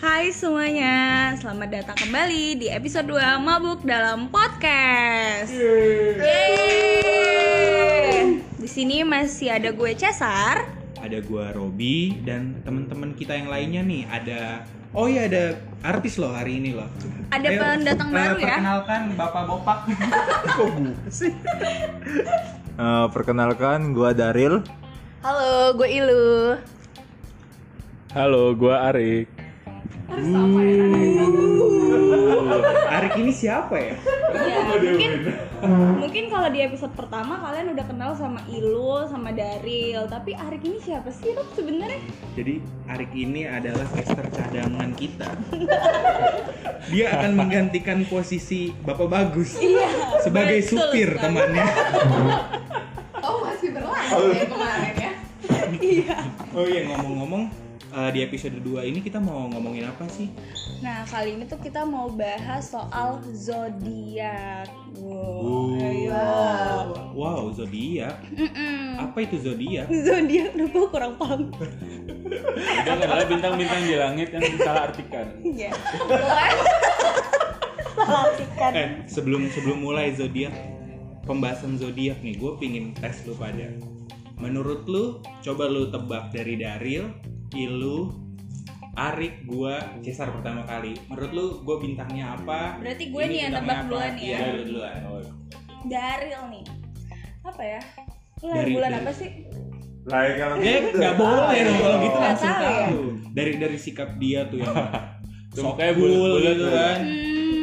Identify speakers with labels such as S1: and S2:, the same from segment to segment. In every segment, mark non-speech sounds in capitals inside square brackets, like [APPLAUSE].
S1: Hai semuanya, selamat datang kembali di episode 2 Mabuk dalam Podcast. Yeay. Di sini masih ada gue Cesar.
S2: ada gua Robi dan teman-teman kita yang lainnya nih ada oh iya ada artis loh hari ini loh
S1: Ada pendatang
S2: eh,
S1: baru ya?
S2: perkenalkan bapak bopak kok bu sih
S3: Eh, perkenalkan, gua Daril.
S4: Halo, gue Ilu.
S3: Halo, gua Arik.
S2: [LAUGHS]
S1: Iya, ya?
S2: Arik ini siapa ya
S1: Ya, mungkin mungkin kalau di episode pertama kalian udah kenal sama Ilu, sama Daril, tapi Arik ini siapa sih Rob sebenarnya?
S2: jadi Arik ini adalah caster cadangan kita dia akan menggantikan posisi bapak bagus
S4: Iya.
S2: sebagai
S1: betul
S2: supir
S1: sekali.
S2: temannya
S4: Oh, masih berlanjut ya kemarin ya.
S2: oh iya ngomong-ngomong eh, di episode 2 ini kita mau ngomongin apa sih
S1: Nah, kali ini tuh kita mau bahas soal zodiak. Wow. Ayo.
S2: wow zodiak
S1: Mm-mm.
S2: apa itu zodiak
S1: Zodiak udah gue kurang paham.
S5: Itu adalah bintang-bintang di langit yang salah artikan.
S1: Iya.
S2: Eh, sebelum sebelum mulai zodiak pembahasan zodiak nih, gue pingin tes lu pada. Menurut lu, coba lu tebak dari Daril, Ilu, Arik, gua, Cesar pertama kali. Menurut lu, gue bintangnya apa?
S1: Berarti gue
S2: Ini
S1: nih yang
S2: bintangnya
S1: nebak
S2: apa?
S1: duluan ya.
S2: Iya, lu duluan.
S1: Daril nih. Apa ya? Lu lahir
S2: Dari-
S1: bulan
S2: dari-
S1: apa sih?
S2: Ya,
S3: gitu.
S2: nggak boleh dong kalau gitu
S1: Nggak
S2: langsung
S1: tahu ya?
S2: tahu. Dari dari sikap dia tuh yang sok
S5: Kayak
S2: cool
S5: bulat-bulat
S2: gitu
S5: tuh.
S2: kan.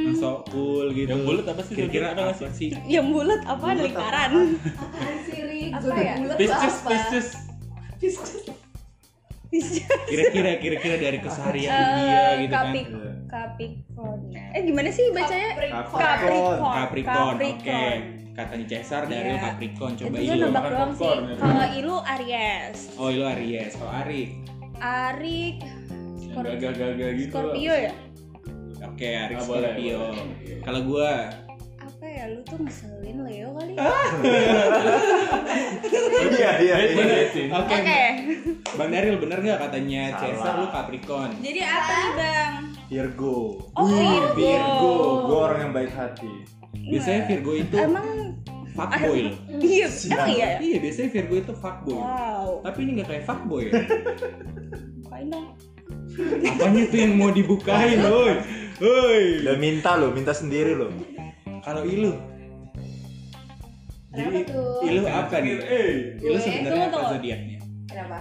S2: Yang Sok cool gitu.
S5: Yang bulat apa sih?
S2: Kira-kira
S5: Zodiac ada
S2: apa
S5: nggak
S2: sih?
S1: Yang bulat apa lingkaran?
S4: Siri,
S1: Apa ya?
S5: Pisces, Pisces.
S2: Kira-kira kira-kira dari keseharian
S1: Eh,
S2: Iya, dia gitu kan.
S1: Capri- Capricorn. Eh gimana sih bacanya?
S3: Capricorn.
S2: Capricorn, oke.
S1: Capricorn.
S2: Katanya Cesar dari
S1: Iya.
S2: Capricorn.
S1: Itu
S2: Coba
S1: gue
S2: Ilu.
S1: nebak
S5: makan
S1: doang sih.
S5: popcorn, ya.
S1: Kalau Ilu Aries,
S2: Oh, Ilu Aries. Kalau Arik.
S1: Arik
S5: Yang Gagal-gagal gitu. lah.
S1: Scorpio ya?
S2: Oke, Arik
S5: Ah, boleh,
S2: Scorpio.
S5: boleh.
S2: Kalau gua
S1: Apa ya lu tuh ngeselin Leo kali?
S2: Ah,
S3: Iya, iya.
S5: Eh,
S3: iya.
S5: boleh sih.
S2: Oke.
S1: Oke.
S2: Bang Daril bener nggak katanya
S3: Salah.
S2: Cesar lu Capricorn?
S1: Jadi apa nih, Bang?
S3: Virgo.
S1: Oh, Virgo.
S3: Virgo, gua orang yang baik hati.
S2: Biasanya Virgo itu
S1: Emang
S2: fuckboy loh.
S1: dia emang [LAUGHS] iya. Oh. ya?
S2: Iya, biasanya Virgo itu fuckboy.
S1: Wow.
S2: Tapi ini nggak kayak fuckboy ya.
S1: Bukain dong.
S2: Apanya tuh yang mau dibukain, woi? Woi.
S3: Udah minta lo, minta sendiri lo.
S2: Kalau Ilu jadi
S4: tuh?
S2: Ilu apa
S6: Iya,
S2: nih? Ilu
S1: Iya,
S4: Gue-
S2: sebenarnya
S1: Tunggu,
S2: apa
S1: tunggu.
S2: zodiaknya?
S4: Kenapa?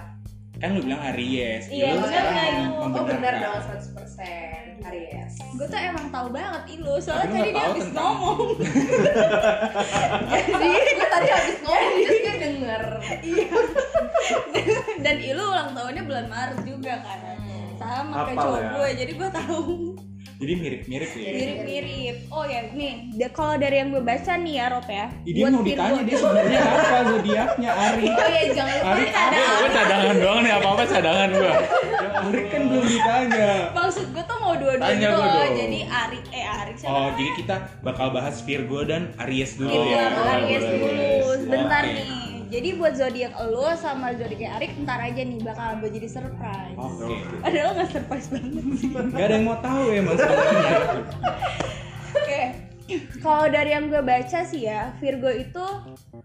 S2: Kan lu bilang Aries.
S1: Iya,
S2: Ilu
S1: bener
S2: sekarang
S1: nggak itu?
S2: membenarkan.
S4: Oh, benar dong 100% Aries.
S1: Gue tuh emang tahu banget Ilu, soalnya
S2: Tapi lu
S1: tadi
S2: nggak
S1: dia
S2: tahu
S1: habis
S2: tentang-
S1: ngomong. [LAUGHS]
S4: Jadi, gue tadi habis ngomong terus dia denger.
S1: Dan Ilu ulang tahunnya bulan Maret juga kan.
S2: Hmm.
S1: Sama kayak
S3: Hafal
S1: cowok
S3: ya.
S1: gue, jadi gue tahu
S2: Jadi mirip-mirip ya.
S1: mirip-mirip. Oh ya, nih, da- kalau dari yang gue baca nih ya, Rob ya.
S2: Ih, dia
S1: buat
S2: mau ditanya
S1: Virgo-
S2: dia
S1: [LAUGHS]
S2: sebenarnya apa zodiaknya Ari.
S4: Oh iya, jangan lupa
S2: Ari
S5: Gue gue cadangan doang nih, apa-apa cadangan gue.
S2: Ari kan belum ditanya.
S1: Maksud gue tuh mau dua-duanya
S5: Tanya gue
S1: loh,
S5: dong.
S1: jadi Ari, eh Ari
S2: Oh,
S1: siapa?
S2: jadi kita bakal bahas Virgo dan Aries dulu
S1: Gitu
S2: ya.
S1: ya,
S5: boleh,
S1: Aries
S5: boleh,
S1: dulu.
S5: boleh.
S1: Sebentar
S2: Oke.
S1: nih. Jadi buat zodiak lo sama zodiak Ari, ntar aja nih bakal gue jadi surprise.
S6: Oh,
S2: Oke.
S1: Padahal nggak surprise banget sih.
S2: Gak ada yang mau tahu ya, emang sebenarnya.
S1: Oke. Kalau dari yang gue baca sih ya, Virgo itu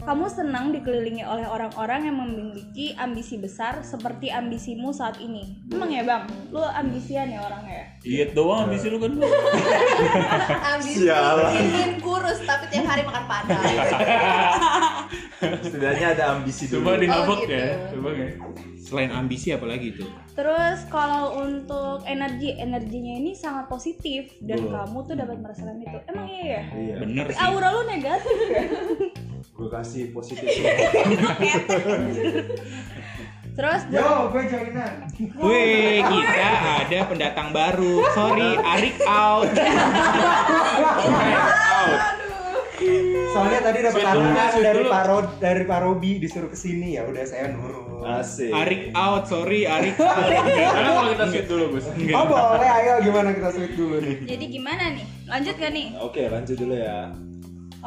S1: kamu senang dikelilingi oleh orang-orang yang memiliki ambisi besar seperti ambisimu saat ini. Emang ya bang, lu ambisian ya orangnya ya?
S5: Diet Iya, doang abis lu kan.
S4: Abis
S3: Sialan.
S4: ingin kurus tapi tiap hari makan padang.
S3: Setidaknya ada ambisi dulu.
S5: Coba dinabok
S4: gitu.
S5: ya. Coba ya.
S2: Selain ambisi apalagi itu?
S1: Terus kalau untuk energi, energinya ini sangat positif dan
S3: Betul.
S1: kamu tuh dapat merasakan itu. Emang iya ya?
S3: Iya.
S2: Bener
S1: Tapi
S2: sih.
S1: aura lu negatif ya?
S3: Gua kasih positif.
S1: Terus
S2: Yo, gue joinan. Wih, kita ada pendatang baru. Sorry, Arik out.
S7: Soalnya tadi dapat
S5: Sweet dulu,
S7: tantangan
S5: sweet
S7: dari
S5: dulu.
S7: Paro dari Parobi disuruh ke sini ya udah saya nurut.
S3: Asik.
S2: Arik out, sorry Arik out.
S5: Karena kalau kita shoot dulu, Gus.
S7: Oh boleh ayo gimana kita sweet dulu nih.
S1: jadi gimana nih? Lanjut gak nih?
S3: Oke, lanjut dulu ya.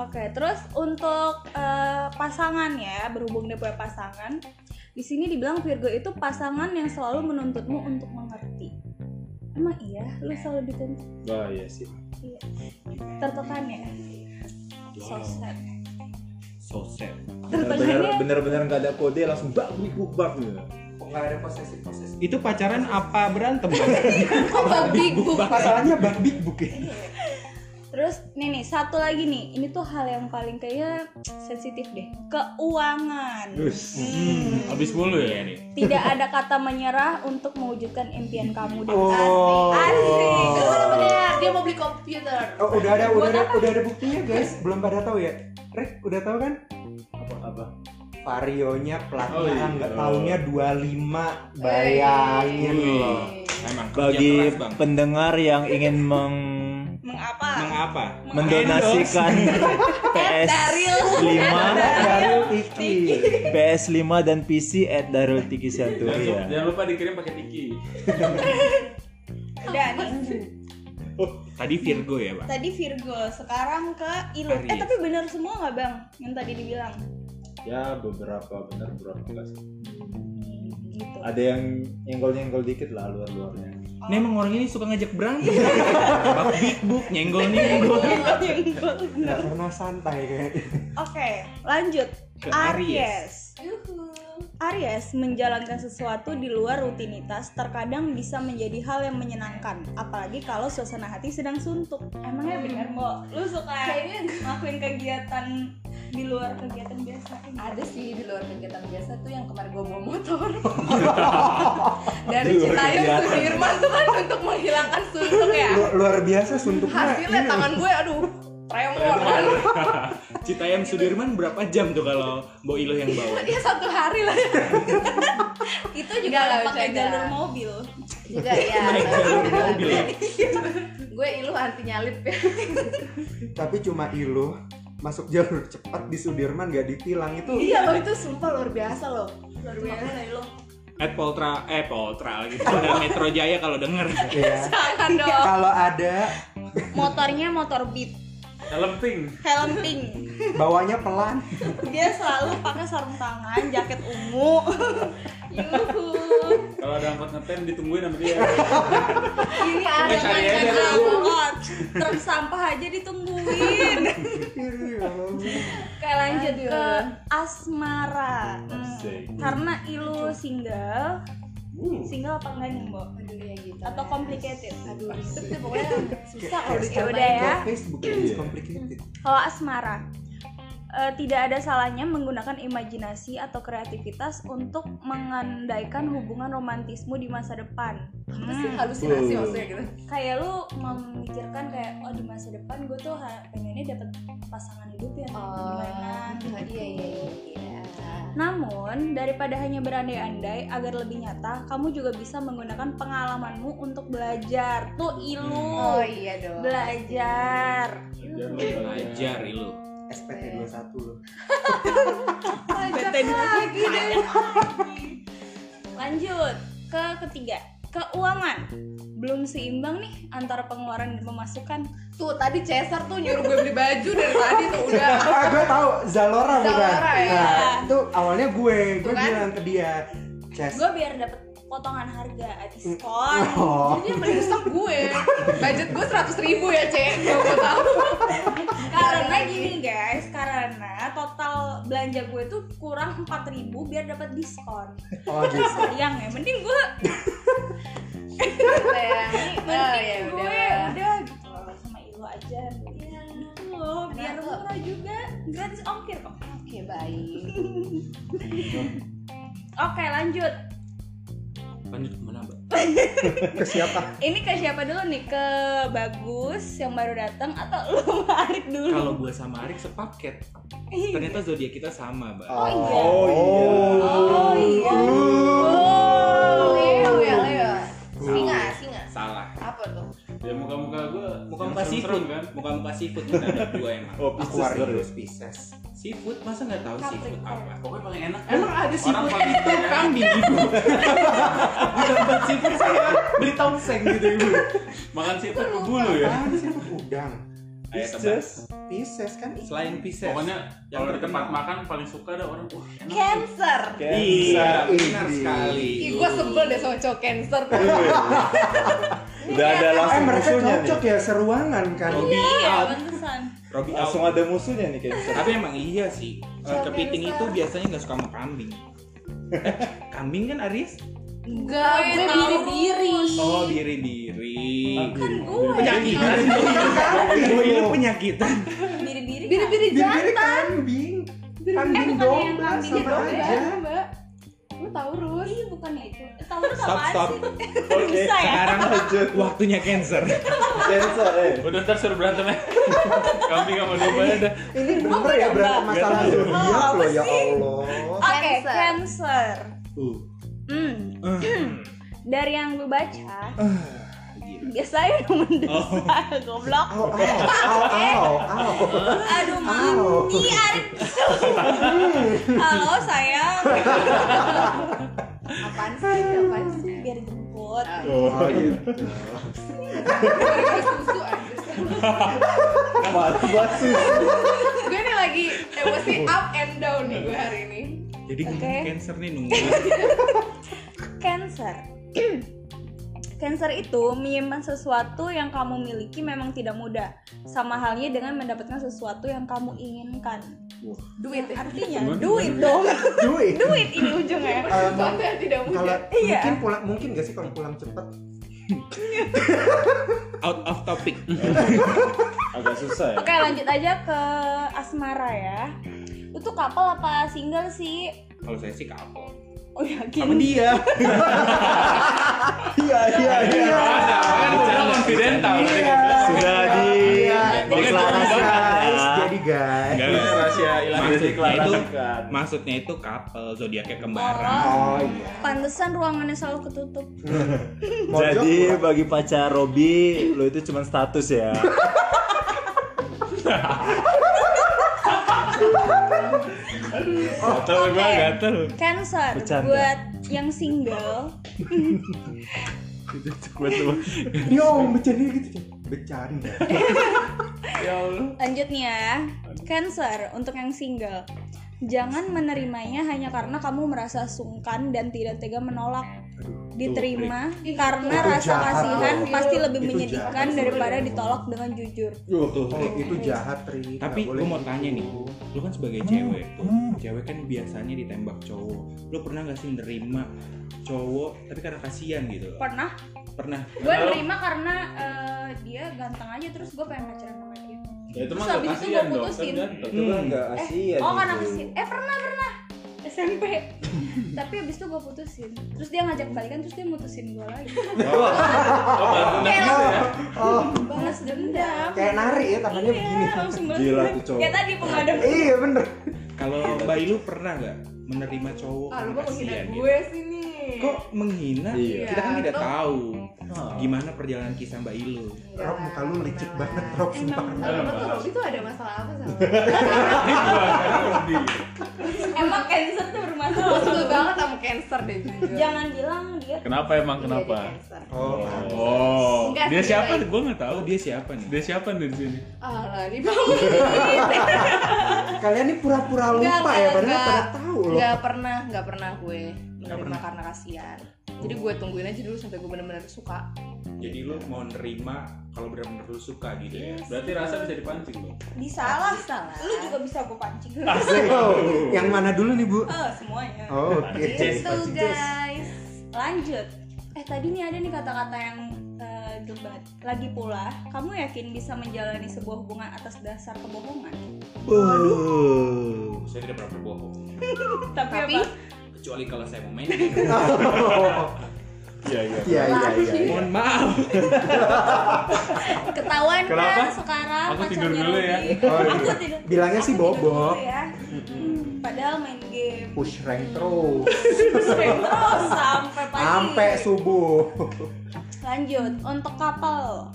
S1: Oke, terus untuk eh, pasangan ya, berhubung dia punya pasangan, di sini dibilang Virgo itu pasangan yang selalu menuntutmu untuk mengerti. Emang iya, lu selalu dituntut.
S3: Oh iya sih.
S1: Iya. Tertekan ya. So
S2: Wow.
S1: sad.
S2: So sad.
S3: Bener-bener
S1: Tertekannya
S3: bener-bener nggak ada kode langsung bak buk buk bak gitu.
S7: Kok nggak ada posesif posesif?
S2: Itu pacaran apa berantem? Bang?
S4: Kok babi bu?
S7: Masalahnya bang big book ya.
S1: Terus nih nih satu lagi nih, ini tuh hal yang paling kayaknya sensitif deh. Keuangan.
S3: Terus
S2: hmm, habis mulu ya nih.
S1: Tidak ada kata menyerah untuk mewujudkan impian kamu dan
S7: Oh.
S1: asik.
S4: Itu kan bener, dia mau beli komputer.
S7: Oh, udah ada udah
S4: Buat
S7: ada,
S4: apa?
S7: udah ada buktinya guys. Belum pada tahu ya? Rick udah tahu kan?
S3: apa apa?
S7: Varionya
S3: Oh,
S7: platnya kan
S3: iya.
S7: nggak taunya 25 bayangin
S2: Wih,
S7: loh.
S2: Emang kerja
S6: bagi
S2: keras, bang.
S6: pendengar yang ingin meng
S1: Mengapa?
S2: Mengapa?
S6: mendonasikan PS
S4: Daril.
S6: 5
S7: Daryl Tiki.
S6: PS5 dan PC at Darul Tiki
S5: Jangan,
S6: Santuri ya.
S5: jangan lupa dikirim pakai tiki.
S1: Udah nih.
S2: Tadi Virgo ya, Bang.
S1: Tadi Virgo, sekarang ke Ilo.
S2: Aries.
S1: Eh tapi benar semua nggak bang? Yang tadi dibilang.
S3: Ya beberapa bener beberapa enggak sih.
S1: Gitu. [LAUGHS]
S3: Ada yang nyenggol-nyenggol dikit lah luar-luarnya.
S2: Ini emang orang ini suka ngajak berantem. [LAUGHS] Bak big book nyenggol nih nyenggol.
S7: Nggak pernah santai kayaknya.
S1: Oke, lanjut.
S2: Ke
S1: Aries.
S4: Yuhu.
S1: Aries menjalankan sesuatu di luar rutinitas terkadang bisa menjadi hal yang menyenangkan, apalagi kalau suasana hati sedang suntuk. Emangnya benar kok? Lu suka
S4: Kayaknya
S1: ngelakuin kegiatan di luar kegiatan biasa?
S4: ada sih di luar kegiatan biasa tuh yang kemarin gue bawa
S2: [LAUGHS]
S4: motor dari Citayam ke Sudirman tuh kan untuk menghilangkan suntuk ya
S7: Lu- luar biasa suntuknya.
S4: hasilnya tangan gue aduh tremor kan
S2: Citayam Sudirman berapa jam tuh kalau Mbok Ilo yang bawa?
S4: ya satu hari lah
S1: Itu
S4: Nggak
S1: juga
S4: lah,
S1: pakai
S4: bercanda.
S1: jalur mobil.
S4: juga ya
S2: Naik jalur mobil ya.
S4: gue ilu anti nyalip ya
S7: Tapi cuma ilu masuk jalur cepat di Sudirman gak ditilang itu
S4: iya loh itu sumpah luar biasa loh luar biasa lo
S2: At Poltra, eh Poltra lagi. Polda Metro Jaya kalau denger.
S1: [LAUGHS]
S7: ya.
S4: jangan
S1: Iya.
S4: dong
S7: Kalau ada
S1: Motornya motor beat,
S5: Helm pink.
S1: helm pink.
S7: bawanya pelan.
S1: Dia selalu pakai sarung tangan, jaket ungu.
S5: [LAUGHS]
S4: Yuhu.
S5: Kalau ada angkot ngetem ditungguin sama
S1: [LAUGHS]
S5: dia.
S4: ini ada
S5: Nggak cari aja
S4: mantan
S5: lu.
S4: aku.
S1: Angkot, truk sampah aja
S5: [LAUGHS]
S1: ditungguin. Oke lanjut
S4: Aduh.
S1: ke asmara. Hmm,
S3: Asik.
S1: Karena ilu single,
S5: Uh.
S1: single apa enggak nih mbok?
S4: Aduh, ya gitu.
S1: Atau complicated?
S4: aduh ribet deh pokoknya susah kalau
S1: Ya
S4: dicoba
S1: udah ya.
S7: Facebook
S3: Iya.
S7: is complicated.
S1: Kalau asmara, eh, tidak ada salahnya menggunakan imajinasi atau kreativitas untuk mengandaikan hubungan romantismu di masa depan.
S4: apa sih
S1: Hmm,
S4: halusinasi
S3: Uh.
S4: maksudnya gitu
S1: Kayak lu memikirkan kayak oh di masa depan gue tuh ha- pengennya dapet pasangan hidup yang
S4: Ah.
S1: gimana?
S4: Oh, iya iya iya.
S1: Namun, daripada hanya berandai-andai agar lebih nyata, kamu juga bisa menggunakan pengalamanmu untuk belajar. Tuh ilu.
S4: Oh iya dong.
S1: Belajar.
S2: Belajar Ilo.
S7: SPT 21 loh.
S4: Pajak
S1: Beten.
S4: lagi deh.
S1: [LAUGHS] Lanjut ke ketiga, keuangan. Belum seimbang nih antara pengeluaran dan pemasukan.
S4: Tuh tadi Cesar tuh nyuruh gue beli baju dari tadi tuh [LAUGHS] udah.
S7: ah gue tahu Zalora bukan
S4: Zalora, iya.
S7: nah, itu awalnya gue gue
S4: Bukan?
S7: bilang ke dia Ces
S1: Gue biar dapet potongan harga
S4: Mm. [LAUGHS]
S1: diskon.
S7: oh
S4: Jadi yang merusak [LAUGHS] gue. Budget gue seratus ribu ya cek. Gak mau tahu.
S1: karena gini guys, karena total belanja gue tuh kurang 4000 biar dapat diskon.
S7: oh gitu
S1: Sayang ya, mending gue
S4: Sayang. [LAUGHS] Oh, ya
S1: mending gue
S4: udah.
S1: udah gitu loh, sama Ilo aja. Ya, gitu loh, biar
S4: Kenapa?
S1: murah juga, gratis ongkir kok.
S4: Oke baik.
S1: Oke, lanjut.
S2: Lanjut kemana, [LAUGHS] Mbak?
S7: ke siapa
S1: Ini ke siapa dulu nih? Ke Bagus yang baru datang atau [LAUGHS] lu Marik dulu?
S2: Kalau gua sama Arik sepaket. Ternyata zodiak kita sama, Mbak.
S1: Oh, iya.
S3: Oh iya.
S1: Oh iya.
S7: Oh.
S1: Oh,
S4: Leo ya Leo. Singa singa.
S2: Salah.
S4: Apa tuh?
S5: Ya muka-muka gue.
S2: Muka-muka
S5: yang
S2: seafood
S5: serem-serem, kan.
S2: Muka-muka seafood kita ada dua emang.
S3: Oh Pisces baru.
S7: Aquarius Pisces
S2: Seafood masa nggak tahu seafood apa?
S5: Pokoknya paling enak.
S2: Emang ada seafood
S5: paling
S2: [LAUGHS] itu
S5: enak.
S2: kambing ibu. Di tempat seafood saya beli tongseng gitu ibu.
S5: Makan seafood ke bulu ya.
S7: ah siapa udang
S2: Ayo tebak.
S7: Pisces kan ikan.
S2: Selain Pisces.
S5: Pokoknya
S2: Yang
S5: kalau di
S2: terkenal.
S5: tempat makan paling suka ada orang wah enak.
S1: Cancer.
S2: Iya, benar
S7: Ih.
S2: sekali.
S1: Iya,
S4: Ih gue sebel deh sama cowok cancer.
S3: Udah ada
S7: Eh
S3: langsung
S7: mereka
S3: musuhnya nih.
S7: cocok ya seruangan kan.
S2: Hobi
S1: Iya,
S2: out,
S1: pantesan.
S2: Robi out.
S3: Langsung ada musuhnya nih kayaknya.
S2: Tapi emang iya sih, eh,
S4: Siapa
S2: kepiting
S4: yang
S2: itu
S4: besar?
S2: biasanya nggak suka sama [LAUGHS] kambing. kambing kan Aries?
S4: Enggak,
S1: Gue
S4: gue
S1: Taurus.
S4: biri-biri.
S2: Oh, diri-diri.
S1: Kan gue
S2: Penyakitan. Gue ini penyakitan.
S1: diri-diri. kan?
S4: Biri-biri
S7: Biri-biri
S4: jantan.
S7: kambing.
S1: Eh,
S7: Kambing
S4: bukan yang
S7: domba
S4: kambing,
S7: sama
S4: domba.
S7: aja.
S4: Domba. Gue Taurus.
S1: Iya, bukan itu. Taurus
S2: Stop,
S1: apaan [LAUGHS]
S2: stop.
S1: sih?
S3: Oke.
S1: Bisa ya?
S2: Sekarang waktunya Cancer.
S3: Sensor eh.
S5: Udah ntar suruh berantem ya. [LAUGHS] Kambing sama domba ada.
S7: Ini bener ya berantem masalah zodiak
S1: apa
S7: loh ya
S1: sih?
S7: Allah.
S1: Oke,
S4: Cancer.
S1: Cancer.
S2: Uh.
S1: Hmm,
S2: Uh.
S1: dari yang gue baca,
S2: Gila.
S1: biasanya mendesak, goblok.
S7: Au au au au. [LAUGHS]
S1: Aduh,
S7: Au.
S1: mami, Aris. Halo, sayang.
S4: Apaan sih? Apaan sih?
S1: Biar jemput.
S3: Oh gitu.
S4: Gara-gara susu anjir.
S3: Mati basis.
S4: Gue nih lagi emosi up and down nih gue hari ini.
S2: Jadi ngomong
S1: Oke.
S2: Cancer nih nunggu.
S1: Cancer. Cancer itu menyimpan sesuatu yang kamu miliki memang tidak mudah. Sama halnya dengan mendapatkan sesuatu yang kamu inginkan.
S4: Duit ya.
S1: Artinya
S5: Gimana?
S1: duit dong.
S7: Duit.
S1: duit ini ujungnya.
S7: Eh,
S4: Sesuatu yang tidak
S7: Kalau
S4: mudah.
S1: Iya.
S7: mungkin pulang mungkin gak sih kalau pulang cepet?
S2: Out of topic.
S3: Agak susah ya.
S1: Oke, lanjut aja ke asmara ya. Itu kapal apa single sih?
S2: Kalau saya sih kapal.
S1: Oh
S2: Sama
S1: yakin.
S2: dia.
S7: Iya iya iya.
S5: Kan bicara konfidental.
S7: kan?
S6: Sudah di
S7: Iya.
S6: deklarasikan
S7: Guys,
S6: ya.
S7: jadi guys.
S2: Enggak
S3: Ini
S2: lah.
S3: rahasia ilahi
S2: Maksudnya itu
S3: deklarasikan.
S2: maksudnya itu kapal zodiaknya kembaran.
S7: Oh iya.
S1: Pantesan ruangannya selalu ketutup.
S7: Mojok
S6: Jadi
S7: pulang.
S6: bagi pacar Robi, lo itu cuma status ya.
S5: Gatel gue gatel.
S1: Cancer
S6: Bercanda.
S1: buat yang single.
S5: Gue
S7: [LAUGHS]
S5: tuh.
S7: Yong, bercanda gitu Cok. Bercanda.
S5: Ya Allah.
S1: Lanjut nih ya. Cancer untuk yang single. Jangan menerimanya hanya karena kamu merasa sungkan dan tidak tega menolak. Diterima karena
S7: Itu
S1: rasa
S7: jahat
S1: kasihan
S7: loh.
S1: pasti lebih
S7: Itu
S1: menyedihkan
S7: jahat.
S1: daripada ditolak dengan jujur.
S2: Tuh.
S7: Oh, itu jahat Tri. Nggak
S2: Tapi
S7: boleh
S2: gue mau
S7: gitu.
S2: tanya nih, lu kan sebagai cewek tuh, cewek kan biasanya ditembak cowok. Lu pernah gak sih nerima cowok tapi karena kasihan gitu?
S1: Pernah
S2: Pernah.
S1: gue nerima karena eh, dia ganteng aja terus gue pengen pacaran sama dia.
S5: Ya itu
S1: Terus habis itu gua putusin.
S5: ganteng.
S3: Itu kan enggak
S1: Eh,
S7: Iya,
S3: asia.
S1: oh karena
S3: gitu.
S1: kesian. Eh pernah pernah SMP. [LAUGHS] Tapi abis itu gue putusin. Terus dia ngajak balikan terus dia mutusin gue lagi.
S5: Oh, baru
S1: Kayak
S5: nangis ya.
S7: Oh,
S1: balas dendam.
S7: kayak nari ya tangannya
S1: Iya,
S7: begini.
S1: langsung balas
S3: Gila
S1: dendam.
S3: tuh cowok.
S1: Kayak tadi pemadam.
S7: Iya bener.
S2: Kalau Mbak Ilu pernah gak menerima cowok
S4: Ah, lu
S2: karena
S4: mau menghina
S2: kasihan gitu?
S4: gue sih nih.
S2: Kok menghina?
S3: Iya.
S2: Kita kan tidak
S4: Iya, tuh.
S2: tahu gimana perjalanan kisah Mbak Ilu.
S4: Enggak,
S7: Rob muka lu licik
S4: pernah.
S7: banget Rob sumpah.
S1: Emang.
S4: Kalau menurut Robi tuh Iya. ada masalah apa
S7: [LAUGHS]
S4: sama?
S1: Emang cancer tuh
S4: Gue
S1: bermasalah.
S4: suka banget sama cancer deh jujur.
S1: Jangan bilang dia
S5: Kenapa emang kenapa?
S4: Jadi cancer.
S7: Oh,
S5: Oh,
S4: Enggak
S5: dia
S4: sih,
S5: siapa?
S4: guys.
S5: Gue nggak tahu.
S2: Oh dia siapa nih?
S5: Dia siapa nih di sini?
S4: Alah, dibangunin.
S7: kalian ini pura-pura
S4: Enggak,
S7: [LAUGHS] lupa ya
S4: enggak,
S7: padahal
S4: enggak.
S7: pada tahu loh.
S4: Enggak pernah, enggak pernah gue menerima karena kasihan. Jadi gue tungguin aja dulu sampai gue bener-bener suka.
S2: Jadi lu mau nerima kalau benar-benar lu suka gitu ya?
S5: Berarti rasa bisa dipancing dong.
S1: disalah.
S4: Bisa lah.
S1: Lu juga bisa gue pancing.
S3: Ah.
S1: [LAUGHS]
S7: Yang mana dulu nih, Bu?
S1: Eh, semuanya.
S7: Oh, oke.
S1: Gitu guys. Lanjut. Eh tadi nih ada nih kata-kata yang eh, debat. Lagi pula, kamu yakin bisa menjalani sebuah hubungan atas dasar kebohongan?
S2: Saya tidak pernah berbohong.
S1: Tapi,
S4: Tapi-
S1: apa?
S2: Kecuali kalau saya mau main game.
S5: Iya iya.
S7: Iya, iya, iya. iya.
S2: Mohon maaf.
S1: ketahuan
S5: Kenapa?
S1: kan sekarang
S5: Aku tidur
S1: pacarnya
S5: dulu ya.
S1: Robi.
S7: Oh,
S1: Aku
S7: iya.
S1: tidur.
S7: Bilangnya sih
S1: aku tidur
S7: bobo.
S1: dulu ya. Mm-mm. Padahal main
S7: [LAUGHS]
S1: game.
S7: Push rank terus
S1: Sering terus sampai pagi.
S7: sampai subuh.
S1: Lanjut, untuk couple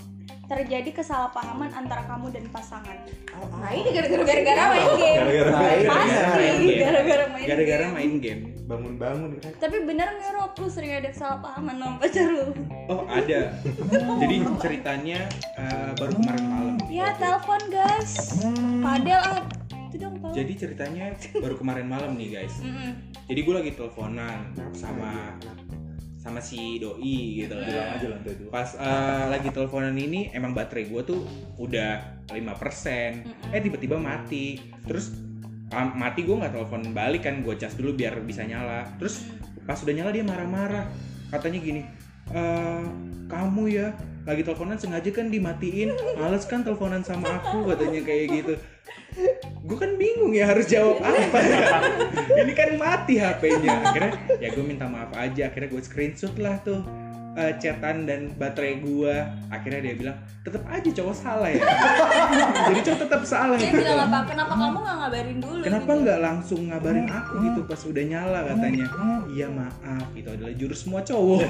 S1: terjadi kesalahpahaman antara kamu dan pasangan.
S4: Nah, ini gara-gara
S1: Gara-gara main game.
S7: Gara-gara main game.
S1: Pasti gara-gara main
S2: Gara-gara
S1: game.
S2: main game.
S7: Bangun-bangun kan.
S1: Tapi bener nggak Rob lu sering ada kesalahpahaman sama pacar lu?
S2: Oh ada. Jadi ceritanya eh, baru kemarin malam.
S1: Ya telepon guys. Padel ah. Itu dong tolong.
S2: Jadi ceritanya baru kemarin malam nih guys.
S1: Mm-mm.
S2: Jadi gue lagi teleponan sama sama si doi gitu
S5: bilang
S2: kan
S5: aja lantai dua
S2: pas eh, lagi teleponan ini emang baterai gue tuh udah 5% eh tiba-tiba mati terus ah, mati gue nggak telepon balik kan gue cas dulu biar bisa nyala terus pas udah nyala dia marah-marah katanya gini "Eh, kamu ya lagi teleponan sengaja kan dimatiin males kan teleponan sama aku katanya kayak gitu gue kan bingung ya harus jawab apa ya ini kan mati HP-nya akhirnya ya gue minta maaf aja akhirnya gue screenshot lah tuh eh, chatan dan baterai gue akhirnya dia bilang tetap aja cowok salah ya jadi cowok tetap salah
S1: Dia bilang apa? Kenapa kamu nggak ngabarin dulu?
S2: Kenapa
S1: gitu?
S2: nggak langsung ngabarin aku gitu pas udah nyala katanya? Iya maaf, itu adalah jurus semua cowok.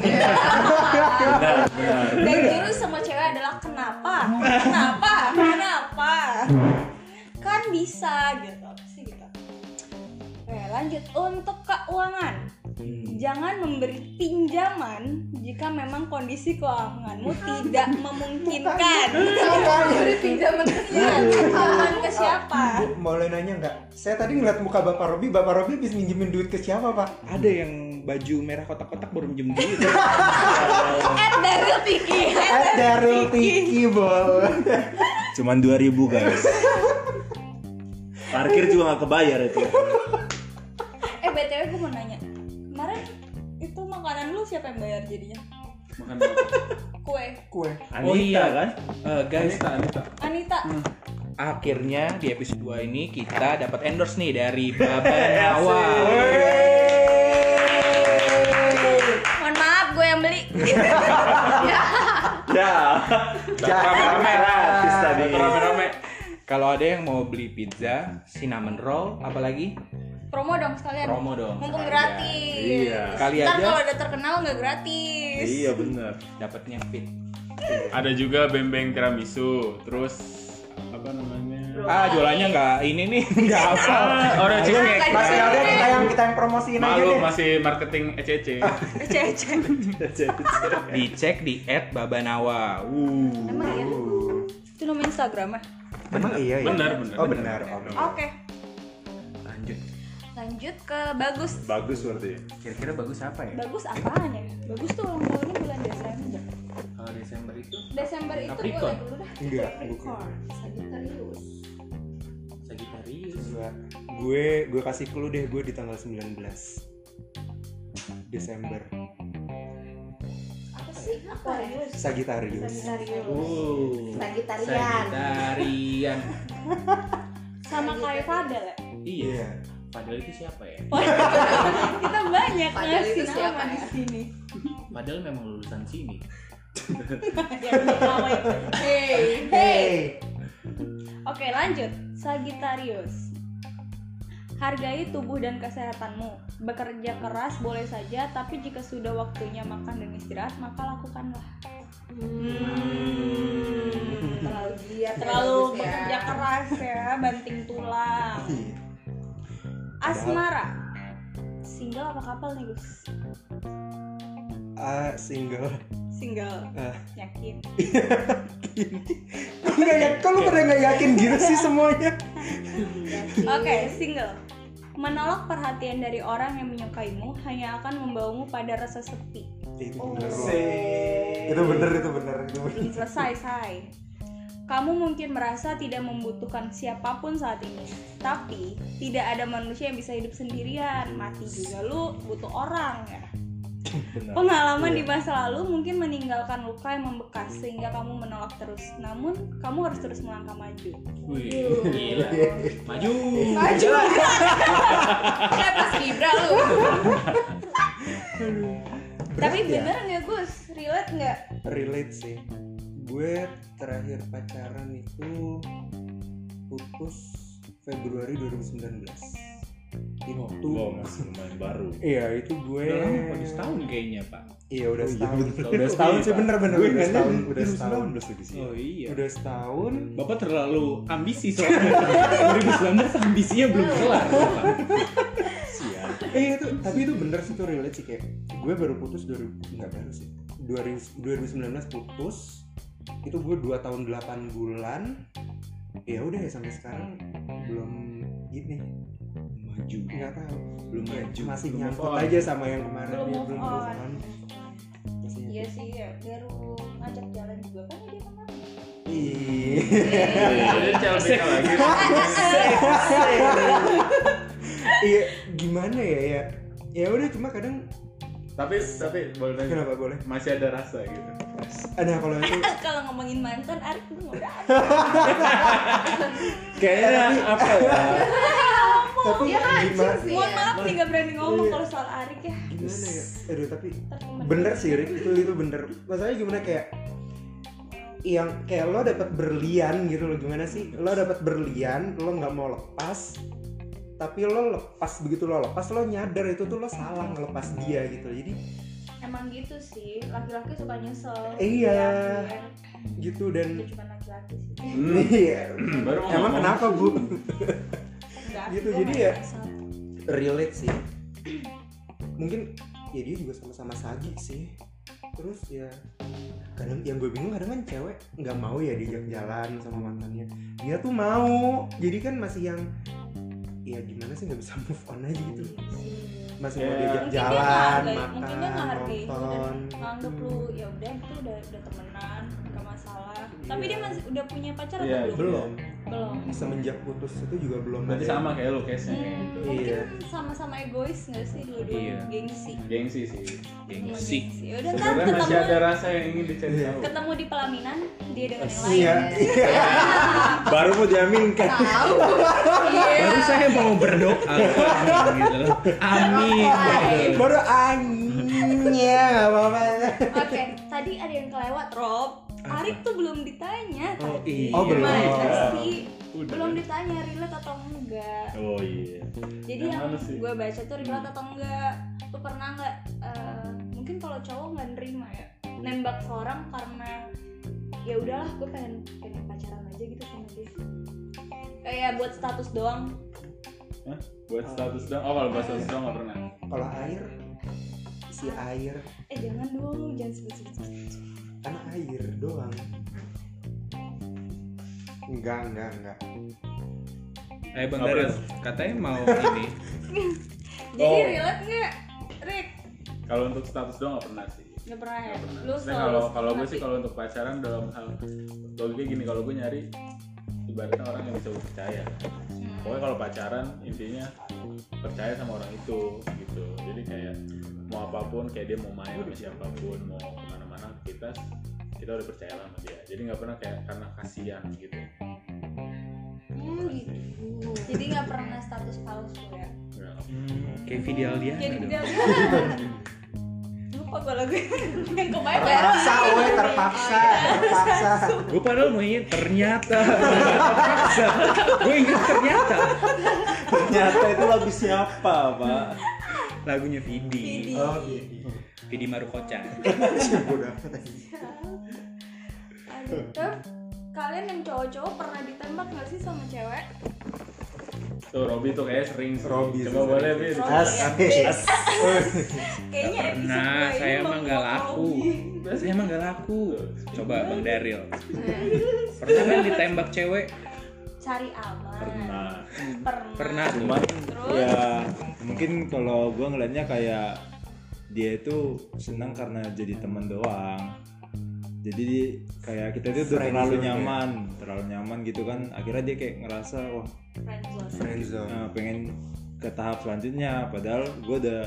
S1: Dan jurus sama cewek adalah kenapa? Kenapa? Kenapa? Kan bisa gitu Apa sih gitu. Oke, lanjut untuk keuangan. Jangan memberi pinjaman jika memang kondisi keuanganmu tidak memungkinkan.
S7: Bukan.
S4: Beri pinjaman ke
S1: Jangan pinjaman Iya, ke siapa?
S7: Bu, boleh nanya nggak? Saya tadi ngeliat muka Bapak Robi, Bapak Robi bisa minjemin duit ke siapa, Pak?
S2: Ada yang baju merah kotak-kotak baru minjem [LAUGHS] duit.
S1: At Eh, Darul Tiki.
S7: At Darul Tiki, boleh.
S6: Cuman 2000 guys. Parkir juga nggak kebayar itu.
S7: Oh,
S1: Eh btw gue mau nanya. Kemarin itu makanan lu siapa yang bayar jadinya?
S5: makan
S1: Kue.
S7: Kue.
S2: Oh iya
S5: kan
S2: Eh, guys,
S5: Anita Anita
S1: Anita.
S2: akhirnya di episode 2 ini kita dapat endorse nih [LAUGHS] dari Babanawa.
S1: Mohon maaf gue yang
S2: [LAUGHS]
S1: beli.
S6: Ya.
S2: Rame-rame.
S6: Gratis tadi.
S2: Iya, Rame-rame. Kalau ada yang mau beli pizza, cinnamon roll, apalagi
S1: Promo dong sekalian.
S2: promo dong.
S1: Mumpung
S2: sekalian.
S1: gratis.
S6: Iya.
S2: Kali
S1: Ntar
S2: aja.
S1: kalau udah terkenal nggak gratis. [LAUGHS]
S6: Iya
S7: [LAUGHS]
S6: benar.
S2: Dapatnya fit.
S5: ada juga bembeng tiramisu terus apa namanya Ah,
S2: Ah, jualannya nggak ini nih, [LAUGHS] nggak apa.
S5: orang cengkeh
S1: Nggak
S7: Mas
S1: Iya.
S7: Alda kita yang kita yang promosiin aja
S5: malu
S7: deh.
S5: masih marketing E ECC
S1: Cece.
S2: Dicek di @babanawa. Uh.
S1: Emang iya. Itu nama Instagramnya.
S7: Emang iya ya?
S5: Benar, benar.
S7: Oh benar, Om.
S1: Oke.
S2: Lanjut.
S1: Lanjut ke bagus.
S3: Bagus berarti.
S2: Kira-kira bagus apa ya?
S1: Bagus apaan ya? Bagus tuh ulang tahunnya bulan Desember.
S2: Kalau Desember itu
S1: Desember itu
S2: Capricorn.
S1: boleh dulu dah.
S7: Enggak, bukan.
S1: Capricorn.
S4: gitu,
S1: Sagittarius.
S2: Sagittarius.
S7: Enggak. Gue gue kasih clue deh gue di tanggal 19 Desember.
S8: apa sih
S4: ya?
S8: Aquarius
S7: Sagittarius.
S8: Sagittarius
S2: Uh.
S8: Sagitarian
S2: Sagitarian.
S1: Sama kayak Fadel ya. [LAUGHS]
S2: Iya.
S7: Iya.
S2: Padahal itu siapa ya?
S1: Kita banyak
S4: Fadel
S1: ngasih
S4: itu siapa
S1: nama di
S4: ya?
S1: sini.
S2: Padahal memang lulusan sini.
S1: Ya, nama itu. Hey. Hey. Oke lanjut Sagittarius Hargai tubuh dan kesehatanmu Bekerja keras boleh saja Tapi jika sudah waktunya makan dan istirahat Maka lakukanlah
S8: terlalu giat
S1: Terlalu
S8: ya.
S1: bekerja keras ya Banting tulang
S7: Iya.
S1: Asmara Single apa kapal nih Gus?
S7: Ah, single.
S1: Single
S7: Ah.
S1: Yakin
S7: Kok nggak ya- kok lu pada nggak yakin gitu sih semuanya?
S1: Oke single Menolak perhatian dari orang yang menyukaimu Hanya akan membawamu pada rasa sepi
S7: Itu bener. Itu bener, itu bener, itu bener.
S1: belum selesai, Say. Kamu mungkin merasa tidak membutuhkan siapapun saat ini, tapi tidak ada manusia yang bisa hidup sendirian. Mati juga lu butuh orang ya. Pengalaman di masa lalu mungkin meninggalkan luka yang membekas sehingga kamu menolak terus. Namun kamu harus terus melangkah maju.
S2: Wih, gila. Maju.
S4: Kayak pas Libra lu
S1: tapi
S7: Berat ya?
S1: bener nggak Gus? Relate nggak?
S7: relate sih gue terakhir pacaran itu putus Februari 2019 itu
S5: Wow, masih lumayan baru.
S7: iya itu gue
S2: Oh, Udah lama, udah setahun Oh, kayaknya, Pak.
S7: iya udah setahun
S6: Udah setahun
S7: sih bener bener
S3: Gue
S7: udah
S3: ingatnya
S7: setahun udah setahun
S3: 2019 lagi sih.
S2: Oh iya.
S7: udah setahun
S2: Bapak terlalu ambisi soalnya 2019 ambisinya belum kelar. Bapak.
S7: eh itu tapi itu bener sih itu relate sih kayak gue baru putus 2000 nggak baru sih 2000 2019 putus itu gue 2 tahun 8 bulan ya udah ya sampai sekarang belum gini
S2: Maju.
S7: nggak tahu
S2: Belum maju.
S7: masih
S2: Belum
S7: nyangkut
S2: move on.
S7: aja sama yang kemarin
S1: Belum
S7: dia
S1: move
S7: belum
S1: on.
S7: move on.
S8: Iya sih, ya. baru ngajak jalan juga kan dia kemarin.
S7: Ih,
S3: Jadi CLBK lagi.
S7: [LAUGHS] Iya, gimana ya ya? Ya udah cuma kadang
S3: Tapi tapi boleh nanya.
S7: kenapa boleh?
S3: Masih ada rasa gitu.
S7: Ada kalau itu
S1: [LAUGHS] Kalau ngomongin mantan, Arif lu nggak berani.
S5: Kayaknya apa
S7: [LAUGHS]
S5: ya?
S7: tapi gimana,
S1: Iya, Mohon maaf nih nggak berani ngomong kalau soal Arif ya. gitu
S7: gimana ya? Aduh, tapi
S8: Terkomen.
S7: Iya. bener sih Rick itu itu bener. Masalahnya gimana kayak yang kayak lo dapat berlian gitu loh gimana sih lo dapat berlian lo nggak mau lepas tapi lo lepas begitu lo lepas lo nyadar itu tuh lo salah ngelepas dia gitu jadi
S1: Emang gitu sih, laki-laki suka nyesel.
S7: Iya.
S1: Iya, iya. Itu
S7: gitu dan
S1: cuma laki-laki sih.
S7: iya
S5: Baru mau
S7: emang
S5: ngomong.
S7: kenapa bu
S1: Enggak,
S7: Gitu,
S1: gua
S7: jadi
S1: nggak
S7: ya-
S1: nyesel.
S7: relate sih mungkin ya dia juga sama-sama sagi sih terus ya kadang yang gue bingung kadang kan cewek nggak mau ya diajak jalan sama mantannya dia tuh mau jadi kan masih yang ya gimana sih nggak bisa move on aja gitu masih mau
S3: Ya.
S1: Mungkin
S7: diajak
S1: dia
S7: jalan
S1: nggak hargai-
S7: makan
S1: mungkin dia nggak hargai itu dan
S7: nonton Hmm.
S1: nganggep lu ya udah itu udah udah temenan nggak masalah tapi
S7: Iya.
S1: dia masih udah punya pacar
S3: Iya,
S1: atau belum
S7: belum
S1: belum
S7: semenjak putus itu juga belum
S3: Berarti
S7: ada-
S3: sama kayak lo case-nya.
S1: Hmm,
S7: Iya.
S1: mungkin sama-sama egois nggak sih dua-duanya
S2: Iya.
S1: gengsi
S3: Gengsi sih.
S2: Gengsi.
S1: Ya udah ntar
S3: Sebenarnya masih
S1: ketemu
S3: ada rasa yang ingin dicari
S7: Iya.
S3: tahu.
S1: ketemu di pelaminan dia dengan yang lain
S7: iya
S6: Baru mau diaminkan.
S4: Tahu.
S6: [LAUGHS]
S1: Iya,
S2: Baru saya mau berdoa gitu loh. Amin. gitu.
S7: baru anjingnya ya nggak apa-apa
S1: oke tadi ada yang kelewat Rob Arif tuh belum ditanya
S2: Oh,
S1: tadi.
S2: iya.
S7: Oh, belum.
S1: Gimana sih?
S3: Udah.
S1: belum ditanya relate atau enggak
S3: Oh iya.
S1: jadi ya,
S3: Yang
S1: yang
S3: mana sih?
S1: gue baca tuh relate atau enggak lu pernah nggak eh, mungkin kalau cowok nggak nerima ya nembak seorang karena ya udahlah gue pengen pengen pacaran aja gitu sama dia kayak buat status doang
S3: Buat status doang. Oh, kalau buat status doang nggak pernah.
S7: kalau air si air
S1: eh jangan dong jangan sebut sebut
S7: kan air doang enggak enggak enggak
S2: Eh Bang Darius, katanya mau ini.
S1: jadi
S3: Oh.
S1: relate nggak Rick
S3: Kalau untuk status doang nggak pernah sih.
S1: nggak pernah ya
S3: Nggak pernah.
S1: lu
S3: Maksudnya kalau kalau gue sih kalau untuk pacaran dalam hal logiknya gini kalau gue nyari ibaratnya orang yang bisa gue percaya. Pokoknya kalau pacaran intinya percaya sama orang itu gitu. Jadi kayak mau apapun kayak dia mau main sama siapapun mau kemana-mana kita kita udah percaya lah sama dia. Jadi nggak pernah kayak karena kasihan gitu.
S1: hmm, gitu jadi nggak pernah status palsu ya
S3: Nggak.
S2: Kayak video dia.
S1: jadi
S2: aduh.
S1: dia lupa gue lagu yang kebayang
S7: terpaksa weh terpaksa terpaksa
S2: Gue padahal mau ingin ternyata terpaksa. Gue ingat ternyata
S6: Ternyata itu lagu siapa, Pak?
S2: lagunya Vidi.
S1: Vidi.
S7: oh iya
S2: Vidi Marukoca.
S7: [LAUGHS] iya bodoh amat aja.
S1: Aduh, Tep, kalian yang cowok-cowok pernah ditembak nggak sih sama cewek?
S3: Tuh Robi tuh kayak sering sih.
S7: Robby
S3: Coba
S7: sih
S3: boleh Bi.
S1: Robby.
S7: [LAUGHS]
S6: As, as.
S1: Kayaknya episode
S2: Nggak pernah,
S1: gue ini
S2: saya emang nggak
S1: membuat
S2: laku.
S1: Robi.
S2: Saya emang gak laku. Coba Bang
S1: [LAUGHS]
S2: Daryl. Pernah kan ditembak cewek?
S1: Cari aman.
S3: Nah,
S1: Pernah.
S2: Pernah tuh.
S6: Cuman
S1: Terus?
S7: Iya.
S6: ya mungkin kalau gue ngelihatnya kayak dia itu senang karena jadi teman doang. Jadi di- kayak kita itu udah
S7: Friend
S6: terlalu
S7: zone ya.
S6: nyaman, terlalu nyaman gitu kan. Akhirnya dia kayak ngerasa wah
S1: Friendzone.
S7: friendzone
S6: eh, pengen ke tahap selanjutnya. Padahal gue udah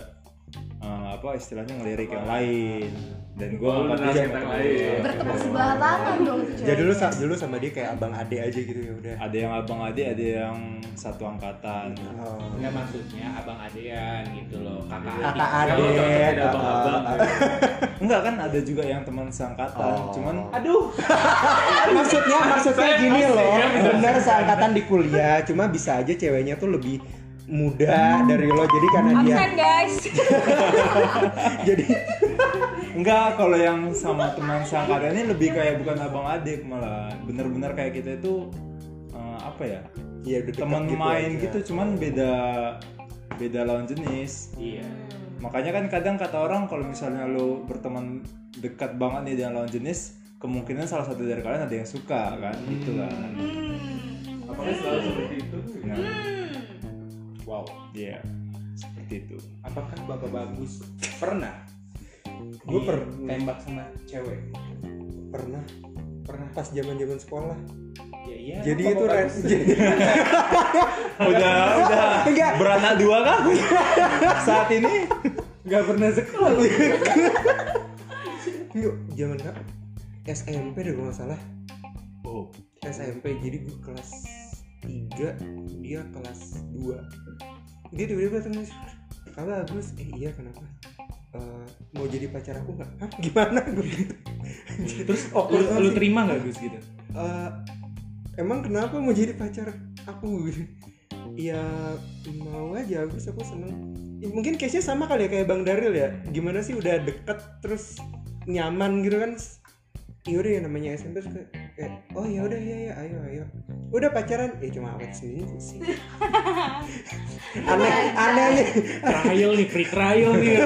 S6: eh, apa istilahnya ngelirik yang lain dan Iya. gue
S3: Oh, lu ngerasa yang lain.
S4: Bertepuk sebelah tangan dong tuh cewek.
S7: jadi lu sa- Ya, dulu sama dia kayak abang ade aja gitu ya udah
S6: ada yang abang adik, ada yang satu angkatan.
S7: Oh.
S2: Enggak maksudnya abang adean gitu loh, kakak adik.
S7: kakak ade
S3: Kalau cowok tidak
S7: Iya,
S3: abang-abang.
S6: Enggak kan ada juga yang teman seangkatan,
S7: Oh.
S6: cuman
S7: [LAUGHS] maksudnya maksudnya
S3: Saya
S7: gini
S3: pasti
S7: loh
S3: kan bisa
S7: bener seangkatan di kuliah cuma bisa aja ceweknya tuh lebih muda dari lo jadi karena dia
S1: Absen guys.
S7: [LAUGHS] jadi
S6: Enggak, kalau yang sama teman seangkatan ini lebih kayak bukan abang adik malah bener-bener kayak kita itu eh, apa ya
S7: ya udah dekat
S6: teman
S7: gitu
S6: main
S7: aja.
S6: gitu cuman beda beda lawan jenis
S2: Iya.
S6: makanya kan kadang kata orang kalau misalnya lo berteman dekat banget nih dengan lawan jenis kemungkinan salah satu dari kalian ada yang suka kan gitu kan
S1: Hmm.
S3: Apakah selalu seperti itu?
S6: nah
S1: Hmm.
S3: Wow.
S6: iya seperti itu
S7: apakah bapak bagus pernah Gua per-
S2: tembak sama cewek
S7: pernah
S2: pernah
S7: pas zaman zaman sekolah
S2: ya iya
S7: jadi
S2: apa
S7: itu
S2: bapak
S7: re-
S2: bagus?
S7: [LAUGHS] jadi
S6: [LAUGHS] udah udah
S7: Enggak.
S6: beranak dua kan saat ini
S7: nggak pernah sekolah lu yuk zaman kak SMP deh kalau nggak salah
S6: oh
S7: SMP jadi gue kelas 3 dia kelas 2 dia tiba-tiba datang nih kamu bagus eh iya kenapa Eh, mau jadi pacar aku nggak Hah, gimana [LAUGHS] gue gitu
S2: terus lu,
S7: awkward banget
S2: lu
S7: Oh, sih.
S2: terima nggak Gus gitu
S7: Eh, emang kenapa mau jadi pacar aku [LAUGHS] ya mau aja Agus aku seneng Ya, mungkin case nya sama kali ya kayak Bang Daril ya gimana sih udah deket terus nyaman gitu kan Iya udah ya namanya SMP terus kayak- kayak oh ya udah ya ya ayo ayo udah pacaran ya cuma awet seminggu sih aneh aneh aja.
S2: trial nih free trial nih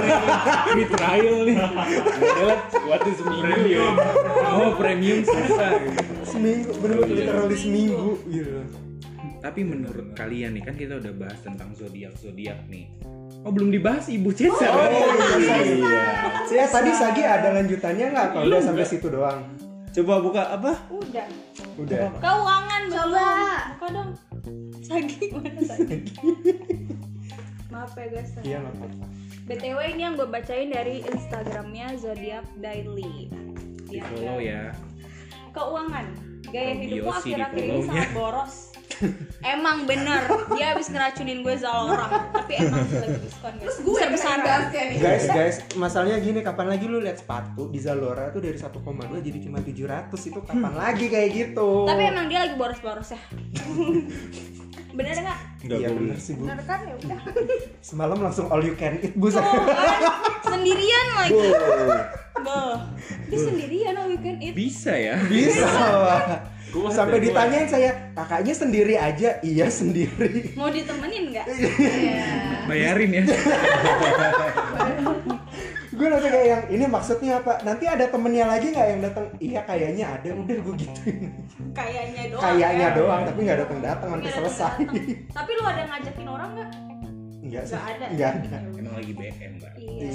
S2: free trial nih
S5: Adalah what is premium.
S2: ya. oh premium susah
S7: seminggu bener literally seminggu gitu
S2: tapi menurut kalian nih kan kita udah bahas tentang zodiak zodiak nih oh belum dibahas ibu Cesar
S7: Oh.
S6: iya
S7: eh tadi Sagi ada lanjutannya nggak kalau udah sampai situ doang
S6: coba buka apa
S1: Udah.
S7: udah
S1: Keuangan coba. Kok dong? Sagi mana Sagi? [LAUGHS] Maaf ya guys.
S7: iya nggak apa-apa
S1: BTW ini yang gue bacain dari Instagramnya Zodiac Daily. Dia
S2: di follow ya
S1: keuangan. Gaya
S2: Kalau
S1: hidupku
S2: Biosi di
S1: akhir-akhir ini
S2: follow-nya.
S1: sangat
S2: [LAUGHS]
S1: boros. Emang bener, dia habis ngeracunin gue Zalora, tapi emang sih lagi diskon guys.
S4: Terus gue yang
S1: Besar-besaran.
S4: basket nih.
S7: Guys, guys, masalahnya gini, kapan lagi lu lihat sepatu di Zalora tuh dari 1,2 jadi cuma 700 itu kapan lagi kayak gitu?
S1: Tapi emang dia lagi boros-boros
S2: [LAUGHS]
S1: ya. bener nggak?
S6: Nggak
S7: Iya
S6: boleh.
S7: bener sih bu.
S1: Bener kan
S6: [LAUGHS]
S1: ya udah.
S7: Semalam langsung all you can eat bu.
S1: Tuh kan, sendirian lagi.
S7: Bu,
S1: Beuh. Dia sendirian oh weekend itu.
S2: bisa ya
S7: Bisa.
S1: iya.
S5: Gua
S7: Sampai
S5: ada, gua
S7: ditanyain saya, kakaknya sendiri aja, iya sendiri.
S1: Mau ditemenin nggak?
S7: Iya.
S2: bayarin ya
S7: [LAUGHS] Gue langsung kayak yang ini maksudnya apa? Nanti ada temennya lagi nggak yang datang? Iya kayaknya ada. Udah gue gituin.
S1: Kayaknya doang.
S7: Kayaknya
S1: ya.
S7: doang, tapi nggak datang datang
S1: Tapi
S7: sampai
S1: ada
S7: selesai.
S1: datang. Tapi lu ada ngajakin orang nggak?
S7: Enggak sih.
S1: Nggak ada. ya? Iya.
S7: Nggak ada.
S2: emang lagi BM mbak
S7: Iya.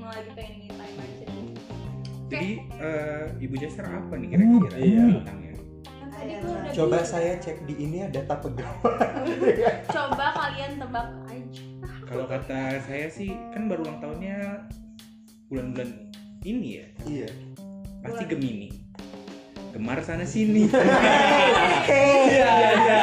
S1: Mau lagi pengen me time aja.
S2: jadi eh, ibu Cesar apa nih
S7: Oh,
S2: kira-kira
S6: Iya.
S2: bintangnya?
S1: Kan tadi gua udah
S7: Coba
S1: bilang.
S7: saya cek di ini ada data pegawai.
S1: [LAUGHS] Coba kalian tebak aja.
S2: Kalau kata saya sih kan baru ulang tahunnya bulan-bulan ini ya,
S7: Iya.
S2: pasti Gemini. Gemar sana sini.
S7: [LAUGHS] Iya, iya.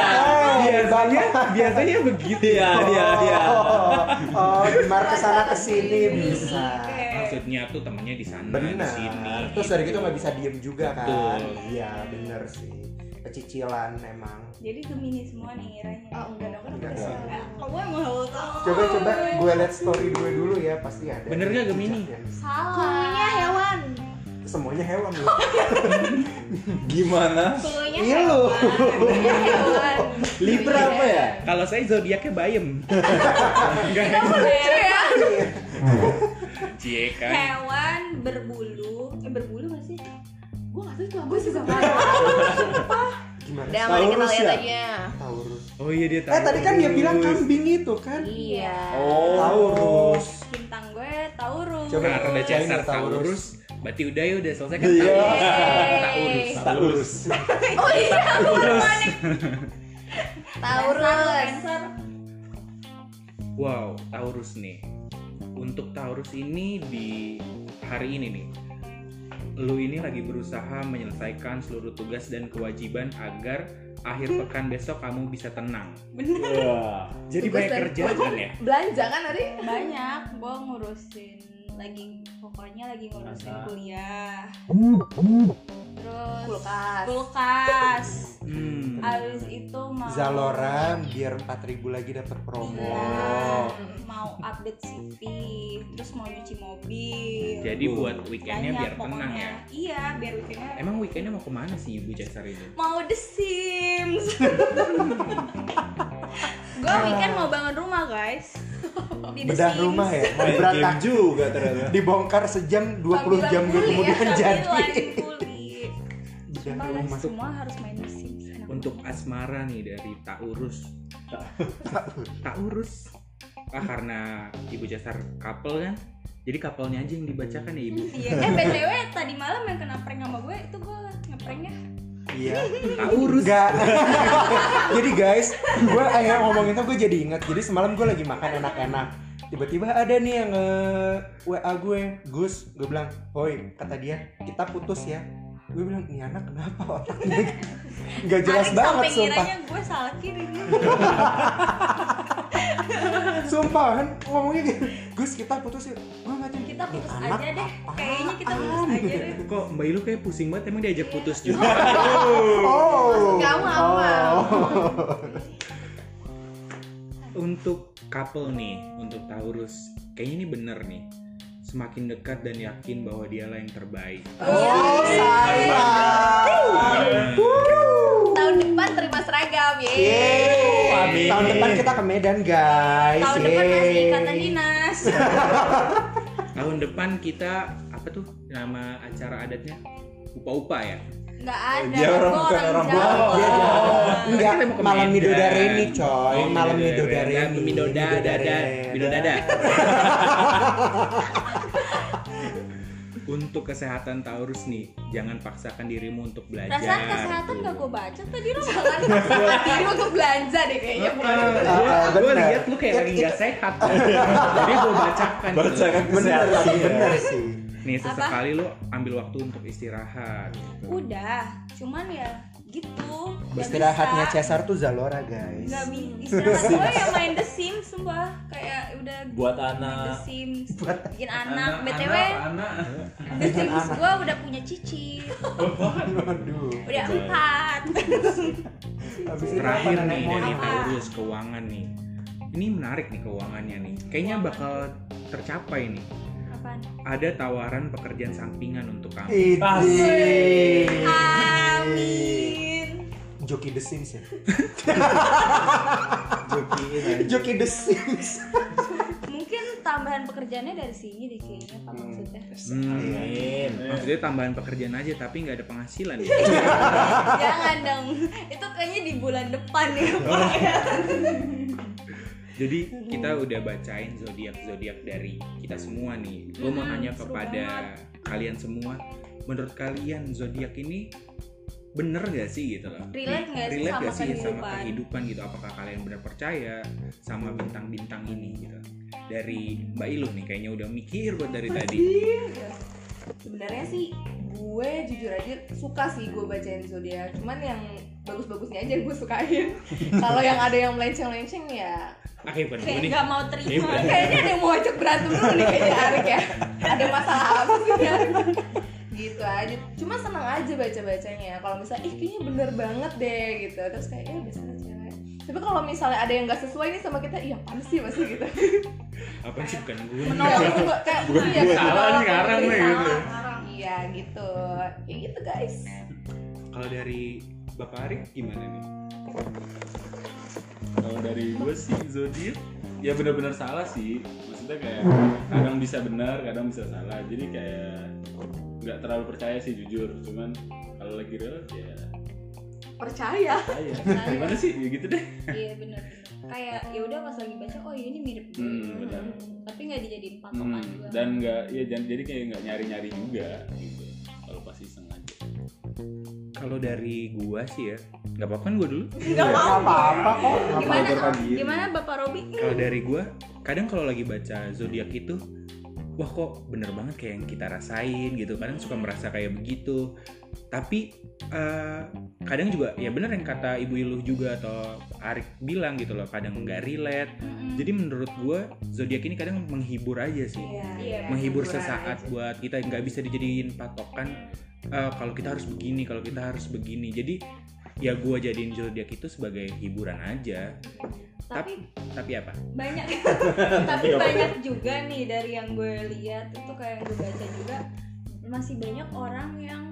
S7: Biasanya
S2: Biasanya begitu.
S6: Iya, dia, dia.
S7: Oh, oh, gemar kesana kesini
S1: Iya.
S7: bisa.
S2: Maksudnya tuh temennya di sana, di sini.
S7: Benar. Terus dari gitu nggak bisa diem juga kan?
S2: Betul.
S7: Iya, bener sih. Kecicilan emang.
S1: Jadi Gemini semua nih iranya.
S4: Oh enggak dong, kan aku
S7: Enggak
S4: bisa.
S7: sih.
S1: Eh, Kamu emang hawa tahu.
S7: Coba coba gue liat story gue dulu ya, pasti ada.
S2: Bener nggak Gemini?
S7: jejaknya.
S1: Salah.
S4: Iya, hewan.
S7: Semuanya ya. hewan loh.
S6: gimana
S1: Kulunya
S7: Iya lo.
S1: Kulunya hewan.
S6: libra apa ya
S2: Kalau saya zodiaknya Bayem. Enggak
S1: Lucu ya.
S2: cie kan.
S1: Hewan berbulu. Eh berbulu nggak sih?
S4: Gue nggak tahu itu apa sih sama.
S7: Gimana?
S4: Udah mari kita
S6: Taurus
S4: lihat
S6: ya?
S4: aja.
S7: Taurus.
S2: Oh iya dia tahu.
S7: Eh tadi kan dia bilang kambing itu kan?
S4: Iya.
S6: oh
S7: Taurus.
S1: Bintang gue Taurus.
S7: Coba.
S2: Nah, karena Cesar
S7: Taurus.
S2: Taurus, berarti udah ya udah selesai kan?
S6: Iya.
S1: Yeay.
S6: Taurus
S1: Oh iya, aku udah panik.
S4: Taurus.
S1: Cancer.
S2: Wow, Taurus nih. Untuk Taurus ini di hari ini nih, lu ini lagi berusaha menyelesaikan seluruh tugas dan kewajiban agar akhir pekan besok kamu bisa tenang.
S4: Bener.
S6: Wah.
S2: Jadi
S4: Tugas
S2: banyak
S4: dan
S2: kerjaan ya.
S4: Belanja kan tadi?
S1: Banyak, gue ngurusin lagi pokoknya lagi ngurusin kuliah. Terus
S4: Kulkas.
S1: kulkas.
S2: Hmm.
S1: Abis itu mau
S7: Zalora biar 4000 lagi dapat promo.
S1: Iya. mau update CV, terus mau nyuci mobil.
S2: Jadi buat weekendnya
S1: Banyak
S2: biar tenang
S1: pokoknya.
S2: ya.
S1: Iya, biar weekendnya
S2: Emang weekendnya mau kemana sih Ibu Cesar ini?
S1: mau The
S7: [LAUGHS]
S1: Sims. gue weekend mau bangun rumah guys. Di The
S7: Oh. Bedah
S1: Sims.
S7: rumah ya.
S6: main game
S7: Berantakan.
S6: juga ternyata
S7: Dibongkar sejam 20
S4: Sambilan
S7: jam
S4: kuli
S1: [LAUGHS]
S4: ya,
S7: kemudian jadi.
S1: Sambilan kulit.
S7: Bedah
S1: Sumpah guys,
S7: rumah.
S1: semua harus main The Sims. Enak.
S2: Untuk asmara nih dari Taurus. Taurus. Ah karena Ibu Cesar couple kan. Jadi kapalnya aja yang dibacakan ya ibu.
S1: Iya. Eh btw tadi malam yang kena prank sama gue itu gue ngepranknya.
S7: Iya. Taurus. Enggak. [LAUGHS] jadi guys, gue akhirnya ngomong itu gue jadi inget. Jadi semalam gue lagi makan enak-enak. Tiba-tiba ada nih yang eh, nge WA gue, Gus. Gue bilang, "Hoi," kata dia, "kita putus ya." Gue bilang, "Ini anak kenapa
S1: [LAUGHS]
S7: otaknya Gak
S1: Alex
S7: jelas banget
S1: sampai
S7: sumpah."
S1: ngiranya gue salah kirim.
S7: Sumpah kan ngomongnya gitu. Gus, kita putus yuk. Gue macam
S1: Kita
S7: "Ini
S1: putus
S7: anak
S1: aja deh.
S7: apaan?" gitu.
S1: Kayaknya kita putus aja deh.
S2: Kok Mbak Ilu kayak pusing banget emang diajak putus juga.
S7: Oh.
S4: Kamu apa?
S2: untuk couple nih, untuk Taurus, kayaknya ini bener nih. Semakin dekat dan yakin bahwa dialah yang terbaik.
S1: Iya.
S7: Oh, sayang.
S4: Tahun depan terima seragam,
S1: Iya.
S4: ye.
S7: Yeay.
S2: Amin.
S7: Tahun depan kita ke Medan, guys.
S1: Tahun
S6: Iya,
S1: depan masih
S7: Yeay.
S1: ikatan dinas.
S2: Tahun depan kita apa tuh nama acara adatnya? Upa-upa ya.
S1: Nggak ada.
S6: Dia orang-
S1: gue
S6: bukan Iya, orang
S2: Oh,
S1: Jawa.
S7: Dia Jawa. Enggak,
S2: Kita mau ke
S7: Iya, malam
S2: Medan.
S7: Midodareni, coy.
S2: Oh,
S7: malam
S2: Midodareni.
S7: Midodareni.
S2: Midodadada.
S7: Midodareni.
S2: Midodada. [LAUGHS] Untuk kesehatan Taurus nih, jangan paksakan dirimu untuk belajar.
S1: Perasaan
S6: Iya.
S1: kesehatan gak gue baca tadi lu malah
S4: Saat ini untuk belanja deh kayaknya.
S7: Ah, ah,
S2: gue
S7: benar.
S2: lihat lu kayak lagi nggak
S7: [LAUGHS]
S2: sehat. Jadi gue bacakan. nih.
S6: Bacakan
S7: Bener
S6: kesehatan
S7: sih,
S6: ya.
S7: bener sih.
S2: Nih sesekali lu ambil waktu untuk istirahat.
S1: udah. Cuman ya gitu. Nggak
S7: Beristirahatnya
S1: bisa.
S7: Cesar tuh Zalora, guys.
S1: Gak bisa, istirahat gue yang main The Sims sumpah Kayak udah
S6: Buat
S1: main The
S6: anak.
S1: Sims
S7: Buat
S1: Bikin anak, BTW
S5: anak.
S1: The Sims gue udah punya cicit
S7: aduh.
S1: Udah empat
S7: Habis itu apa
S2: Terakhir nih
S7: nenek
S2: dari
S7: moyang?
S1: Apa?
S2: Taurus keuangan nih. Ini menarik nih keuangannya nih. Kayaknya bakal tercapai nih.
S1: Apaan?
S2: Ada tawaran pekerjaan sampingan untuk kamu.
S7: Itu.
S1: Amin
S7: Joki The Sims ya.
S6: Jokiin aja.
S7: [LAUGHS] Joki The Sims.
S1: Mungkin tambahan pekerjaannya dari sini deh kayaknya apa maksudnya
S2: Hmm.
S6: Amin.
S2: Maksudnya tambahan pekerjaan aja tapi nggak ada penghasilan. ya?
S1: [LAUGHS] Jangan dong, itu kayaknya di bulan depan ya Pak ya
S2: Jadi kita udah bacain zodiak-zodiak dari kita semua nih. Gue mau
S1: Hmm,
S2: nanya
S1: seru
S2: kepada kalian semua, menurut kalian zodiak ini bener gak sih gitu loh?
S1: Relate nggak sih
S2: Relate
S1: sama
S2: gak sih sama
S1: kehidupan?
S2: kehidupan gitu? Apakah kalian benar percaya sama bintang-bintang ini gitu? Dari Mbak Ilu nih kayaknya udah mikir buat dari tadi.
S4: Sebenarnya sih gue jujur aja suka sih gue bacain zodiak. Cuman yang bagus-bagusnya aja gue
S6: [LAUGHS]
S4: sukain. Kalau yang ada yang melenceng-melenceng ya
S2: Akhir bukan
S1: Kayak
S2: gue nih.
S1: nggak mau
S2: Ini
S1: terima
S2: bukan.
S4: Kan kayaknya ada yang mau ajak berantem dulu nih kayaknya Arik ya ada masalah apa sih ya gitu aja cuma seneng aja baca bacanya kalau misalnya ih kayaknya bener banget deh gitu terus kayak ya biasa aja cewek tapi kalau misalnya ada yang nggak sesuai nih sama kita iya apaan sih pasti gitu
S2: Apa sih bukan gue? nih.
S4: menolak juga kayak bukan ya
S5: Salah nih, ngarang nih, gitu.
S4: iya gitu ya gitu guys
S2: Kalau dari Bapak Arik gimana nih?
S3: kalau dari gue sih zodiak ya benar-benar salah sih maksudnya kayak kadang bisa benar kadang bisa salah jadi kayak nggak terlalu percaya sih jujur cuman kalau lagi relate ya
S4: percaya
S3: percaya gimana sih ya gitu deh
S1: Iya benar. Kayak ya udah pas lagi baca oh ya ini mirip gue.
S3: Hmm, benar.
S1: Tapi nggak dijadiin patokan
S3: Hmm,
S1: juga.
S3: dan nggak ya jangan jadi kayak nggak nyari-nyari juga gitu kalau pasti sengaja
S2: Kalau dari gua sih ya, nggak apa-apa kan gue dulu.
S7: Iya, Gak apa-apa kok.
S1: gimana?
S6: Lapor pagi.
S1: Gimana Bapak Robi?
S2: kalau dari gue kadang kalau lagi baca zodiak itu wah kok bener banget kayak yang kita rasain gitu kadang suka merasa kayak begitu tapi eh, kadang juga ya bener yang kata ibu iluh juga atau Arik bilang gitu loh kadang nggak relate
S1: Hmm.
S2: jadi menurut gue zodiak ini kadang menghibur aja sih
S1: Iya,
S2: menghibur
S4: hiburan
S2: sesaat
S4: aja.
S2: buat kita nggak bisa dijadiin patokan eh, kalau kita harus begini kalau kita harus begini jadi ya gue jadiin zodiak itu sebagai hiburan aja
S1: Tapi
S2: tapi apa [LAUGHS]
S1: banyak tapi
S2: Iya,
S1: banyak juga nih dari yang gue lihat itu kayak yang gue baca juga masih banyak orang yang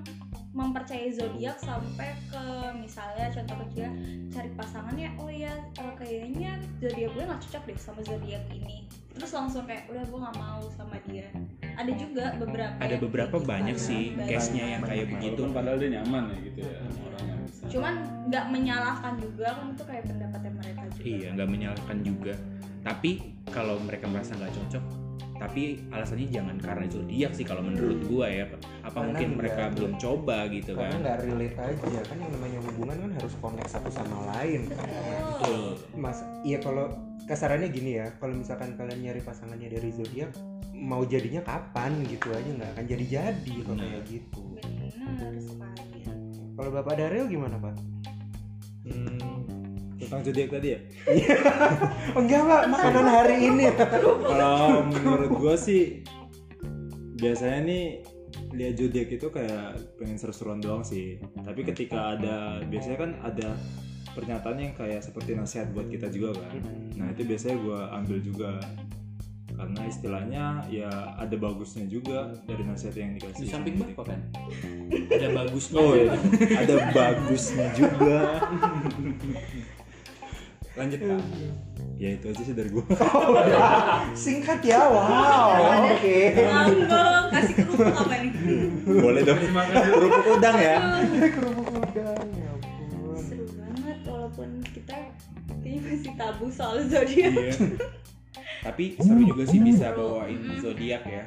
S1: mempercayai zodiak sampai ke misalnya contoh kecil ya, cari pasangannya oh ya eh, kayaknya zodiak gue nggak cocok deh sama zodiak ini terus langsung kayak udah gue nggak mau sama dia ada juga beberapa
S2: ada
S1: yang
S2: beberapa
S1: kayak
S2: banyak
S1: gitu.
S2: sih
S1: Banyak.
S2: case-nya yang kayak begitu
S3: Walaupun padahal dia nyaman ya gitu ya sama orang yang bisa
S1: cuman nggak menyalahkan juga kan itu kayak pendapatnya mereka juga
S2: iya nggak menyalahkan juga tapi kalau mereka merasa nggak cocok tapi alasannya jangan karena zodiak sih kalau menurut gua ya apa
S7: Karena
S2: mungkin
S7: juga-
S2: mereka belum coba gitu
S7: karena
S2: kan
S7: nggak relate aja kan yang namanya hubungan kan harus connect satu sama lain kan
S2: betul
S7: mas iya kalau kasarannya gini ya kalau misalkan kalian nyari pasangannya dari zodiak mau jadinya kapan gitu aja nggak akan jadi jadi kalau
S2: Benar.
S7: kayak gitu
S8: benar sekali
S7: kalau bapak Daryl gimana pak
S6: tentang zodiak tadi ya
S7: oh, enggak pak makanan hari ini
S6: kalau menurut gue sih biasanya nih lihat zodiak itu kayak pengen seru-seruan doang sih tapi ketika ada biasanya kan ada pernyataan yang kayak seperti nasihat buat kita juga kan nah itu biasanya gue ambil juga karena istilahnya ya ada bagusnya juga dari nasihat yang dikasih
S2: di samping bapak
S6: [LAUGHS]
S2: kan ada bagusnya
S6: oh iya ada bagusnya juga lanjut Kak. ya itu aja sih dari gue
S7: [LAUGHS] singkat ya wow oke
S1: Ambon, kasih kerupuk apa nih?
S6: boleh dong kerupuk udang ya
S7: kerupuk udang ya ampun
S1: Seru banget walaupun kita kayaknya masih tabu soal zodiak.
S2: Iya. Tapi seru juga sih bisa bawain zodiak ya.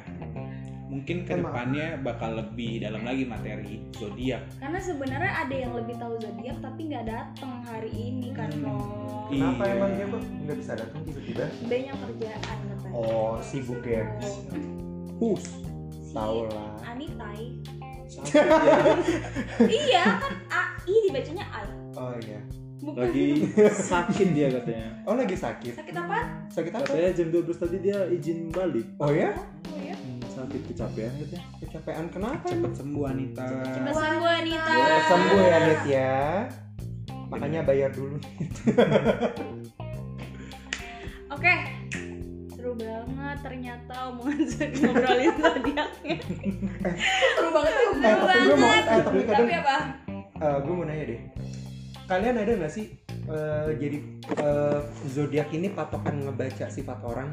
S2: Mungkin kedepannya bakal lebih dalam lagi materi zodiak.
S1: Karena sebenarnya ada yang lebih tahu zodiak tapi nggak datang hari ini kan mau
S7: kenapa
S2: Iya.
S7: emang dia kok nggak bisa datang tiba-tiba
S1: banyak kerjaan katanya.
S7: oh sibuk ya hus
S1: Si
S7: tahu lah
S1: Anitai. iya kan AI dibacanya AI.
S7: [LAUGHS] oh iya
S1: Bukan
S6: lagi sakit dia katanya
S7: oh lagi sakit
S1: sakit apa?
S7: sakit apa
S6: katanya jam 12 tadi dia izin balik
S7: oh ya
S1: iya.
S6: Hmm, sakit kecapean katanya
S7: kecapean kenapa emang?
S2: Cepet sembuh Anita.
S1: Kita sembuh wanita.
S7: Ya, sembuh ya Nit ya. Makanya bayar dulu.
S1: Oke. Seru banget ternyata omongan [LAUGHS] zodiak ngobrolin zodiaknya.
S4: seru banget tuh
S7: Eh, tapi gue mau, eh, tapi kadang
S4: tapi apa
S7: eh, gue mau nanya deh. Kalian ada nggak sih eh, jadi eh, zodiak ini patokan ngebaca sifat orang?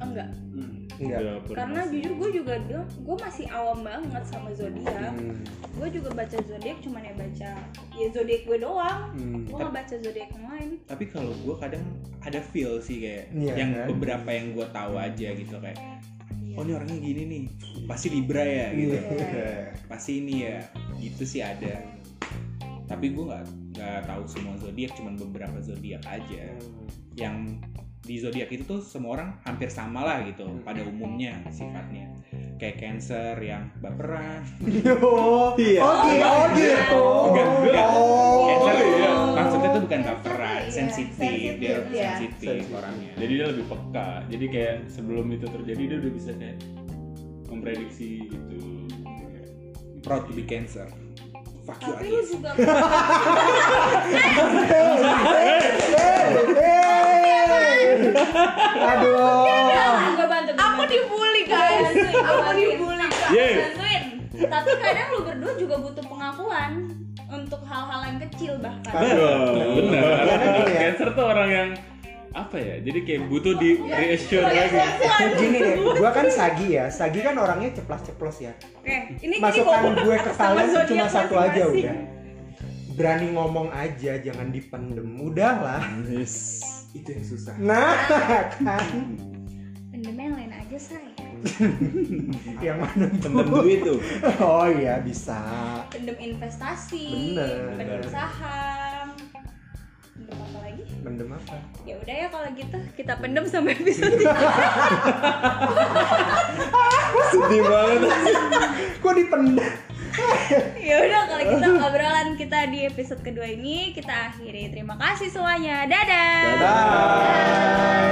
S1: Enggak.
S2: Hmm.
S7: Enggak.
S3: Iya.
S6: Udah pernah
S1: Karena
S6: sih.
S1: jujur gue juga bilang gue masih awam banget sama zodiak.
S7: Hmm,
S1: Gue juga baca zodiak cuman ya baca ya zodiak gue doang.
S7: hmm.
S1: Gue nggak baca zodiak yang lain.
S2: Tapi kalau gue kadang ada feel sih kayak
S7: Iya,
S2: yang
S7: kan?
S2: beberapa yang gue tahu aja gitu kayak. Oh ini orangnya gini nih, pasti Libra ya
S7: Iya.
S2: gitu. Pasti ini ya, gitu sih ada. Tapi gue nggak nggak tahu semua zodiak, cuman beberapa zodiak aja. yang di zodiak itu tuh semua orang hampir sama lah gitu
S7: Hmm.
S2: pada umumnya sifatnya kayak cancer yang baperan
S7: Oh,
S6: Iya.
S7: Oke, oh gitu.
S2: Enggak, enggak.
S7: Oh,
S2: cancer
S7: iya.
S2: maksudnya tuh bukan baperan
S1: ya,
S4: Iya,
S2: sensitif dia
S4: sensitif,
S1: iya.
S4: ya.
S2: sensitif orangnya
S3: jadi dia lebih peka jadi kayak sebelum itu terjadi dia udah bisa kayak memprediksi gitu
S2: proud to be cancer fuck you
S1: Tapi lu
S2: Agis.
S1: juga
S7: Hey. Aduh.
S1: gue bantu.
S4: aku dibully guys aku dibully guys
S1: bantuin. Tapi kadang lu berdua juga butuh pengakuan untuk hal-hal yang kecil bahkan.
S3: Betul, benar.
S7: Karena gini ya.
S3: Cancer tuh orang yang apa ya? Jadi kayak butuh di reassure lagi.
S7: Gini deh, gua kan Sagi ya. Sagi kan orangnya ceplas-ceplos ya.
S1: Oke, ini
S7: masukan
S1: kita
S7: gue ke kalian
S1: sama
S7: cuma
S1: zodiak
S7: satu aja
S1: masing-masing.
S7: udah berani ngomong aja jangan dipendem udahlah
S6: Yes.
S7: itu yang susah nah kan
S1: Pendemnya yang lain aja sayang.
S7: yang mana
S6: pendem duit tuh
S7: oh iya bisa
S1: Pendem investasi,
S7: Bener.
S1: pendem saham. Pendem apa lagi?
S7: mendem apa
S1: Ya udah ya kalau gitu kita pendem sampai episode tiga.
S6: sedih banget
S7: kok dipendem
S1: ya udah kalau gitu obrolan kita di episode kedua ini kita akhiri. Terima kasih semuanya. Dadah.
S7: bye